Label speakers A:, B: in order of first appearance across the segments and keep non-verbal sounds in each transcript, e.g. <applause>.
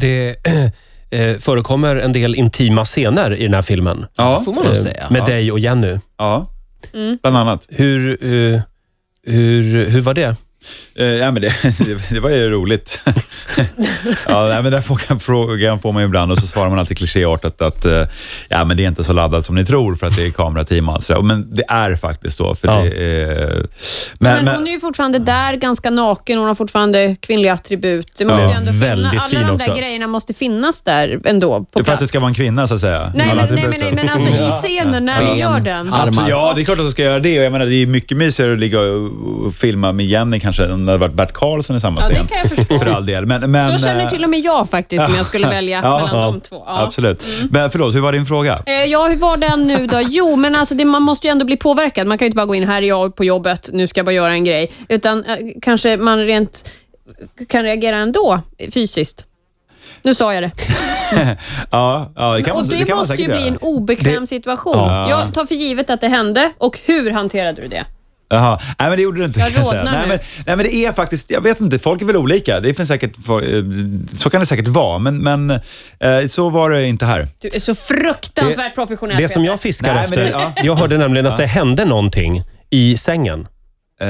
A: Det <clears throat> eh, förekommer en del intima scener i den här filmen.
B: Ja,
C: får man nog
A: Eh,
C: säga.
A: Med
B: Ja.
A: dig och Jenny.
B: ja.
D: Mm.
B: bland annat.
A: Hur, eh, hur, hur var det?
B: Eh, ja, men det, <laughs> det var ju
D: <laughs>
B: roligt. ja, nej, men den frågan, frågan får man ju ibland och så svarar man alltid klichéartat att eh, ja, men det är inte så laddat som ni tror för att det är kamerateam. och allt sådär. Men det är faktiskt då. För
A: Ja.
B: det, är-
D: Men, hon är ju fortfarande där, ganska naken. Hon har fortfarande kvinnliga attribut. Det måste
B: Ja.
D: ju ändå finnas-
A: Väldigt
D: Alla
A: fin
D: de där
A: också.
D: grejerna måste finnas där ändå på plats.
B: För att det ska vara en kvinna så att säga.
D: Nej,
B: Alla
D: men, nej,
B: attributen.
D: men, nej, men alltså i scenen när hon
C: Ja.
D: gör den.
C: Ja.
B: Absolut,
C: Armar.
B: ja, det är klart att du ska göra det. Och jag menar, det är mycket mysigare att ligga och och filma med Jenny kanske än om det hade varit Bert Karlsson i samma
D: Ja, det
B: scen.
D: kan jag förstå.
B: För all del. Men, men, eh,
D: Så känner till och med jag faktiskt om jag skulle välja
B: <laughs> Ja,
D: mellan
B: ja,
D: de två. Ja. Mm.
B: Absolut. Men förlåt, hur var din fråga?
D: Eh, Ja, hur var den nu då? Jo, men alltså det, man måste ju ändå bli påverkad. Man kan ju inte bara gå in, här är jag på jobbet, nu ska jag bara göra en grej. Utan eh, kanske man rent kan reagera ändå eh, fysiskt. Nu sa jag det.
B: Ja, ja det kan
D: och
B: man,
D: det,
B: det kan man
D: måste ju
B: säkert
D: bli
B: göra.
D: en obekväm situation.
B: Ja.
D: Jag tar för givet att det hände och hur hanterade du det?
B: Jaha. Nej, men det gjorde du inte.
D: Jag
B: kan säga.
D: rodnar
B: nej,
D: nu.
B: men, nej, men det är faktiskt, jag vet inte, folk är väl olika. Det finns säkert, eh, så kan det säkert vara, men, men eh, så var det inte här.
D: Du är så fruktansvärt professionell.
A: Det som
D: Peter.
A: jag fiskar
B: Nej, men
A: efter.
B: det- ja.
A: Jag hörde nämligen att det hände någonting i sängen
B: Eh,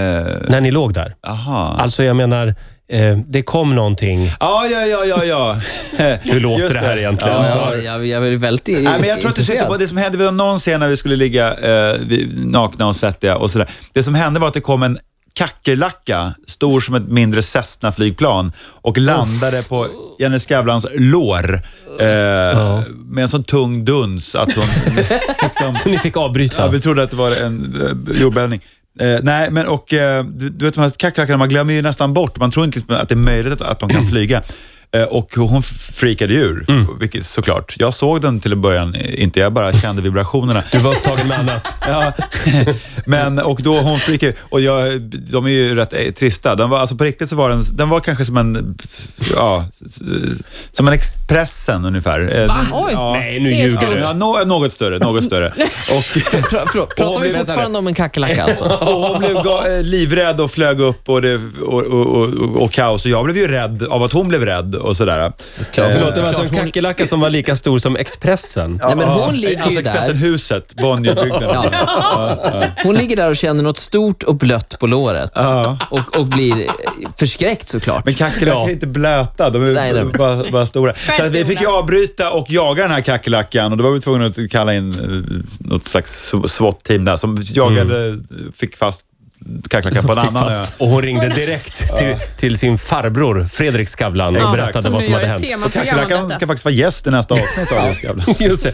A: när ni låg där.
B: Aha.
A: Alltså jag menar, eh, det kom någonting.
B: Ja, ja, ja, ja, ja.
D: <laughs>
B: <laughs>
A: Hur låter
B: Just
A: det här egentligen?
B: Ja, ja.
C: Ja, jag, jag är väldigt
B: Nej, men jag tror att det, syftar på det som hände vid någon scen när vi skulle ligga eh, vi- nakna och svettiga och sådär. Det som hände var att det kom en kackerlacka, stor som ett mindre Cessna-flygplan och landade på Jenny Skavlans lår eh, med en sån tung duns att hon... liksom,
A: Ni fick
B: ja,
A: avbryta.
B: vi trodde att det var en eh, jordbävning. Eh, nej, men och eh, du, du vet de här kackerlackorna, man glömmer ju nästan bort. Man tror inte att det är möjligt att, att de kan flyga. Eh, och hon f- freakade ju ur, vilket, såklart. Jag såg den till en början eh, inte, jag bara kände vibrationerna.
A: Du var upptagen med annat.
B: <laughs> Ja. <laughs> Men, och då hon freakade och jag, de är ju rätt eh, trista. Den var, alltså på riktigt så var den, den var kanske som en, ja, s- s- som en Expressen ungefär. Eh, den-
D: Ah, Oj.
B: Ja.
A: Nej, nu
D: Det är
A: ljuger
D: sant.
A: du.
B: Ja, nå- eh, något större, något
C: <laughs>
B: större. Och,
C: Pra, förlåt, pratar
B: Åh,
C: vi
B: men vänta
C: fortfarande om en kackerlacka
B: <laughs>
C: alltså?
B: Och hon blev ga- eh, livrädd och flög upp och, det, och, och, och, och kaos. Och jag blev ju rädd av att hon blev rädd och sådär. Eh,
C: Klart,
A: Förlåt, det var alltså en
C: Klart hon-
A: kackerlacka som var lika stor som Expressen.
C: Nej, men
B: Ja,
C: hon ligger
B: alltså
C: ju där.
B: Expressenhuset, Bonnierbyggnaden.
C: <laughs> Ja. Hon ligger där och känner något stort och blött på låret.
B: Ja.
C: Och, och blir eh, förskräckt såklart.
B: Men kackerlackor är inte blöta, de är
C: Nej, nej.
B: Bara, bara stora. Så att vi fick ju avbryta och jaga den här kackerlackan och då var vi tvungna att kalla in eh, något slags SWAT-team där som jagade,
C: Mm.
B: fick fast kackerlackan på en annan ö.
A: Och hon ringde direkt till, till sin farbror Fredrik Skavlan och
B: Exakt.
A: berättade vad som hade hänt.
D: Som nu gör ett temaprogram om
B: Kackerlackan
D: detta.
B: ska faktiskt vara gäst i nästa avsnitt av Skavlan.
A: Just det.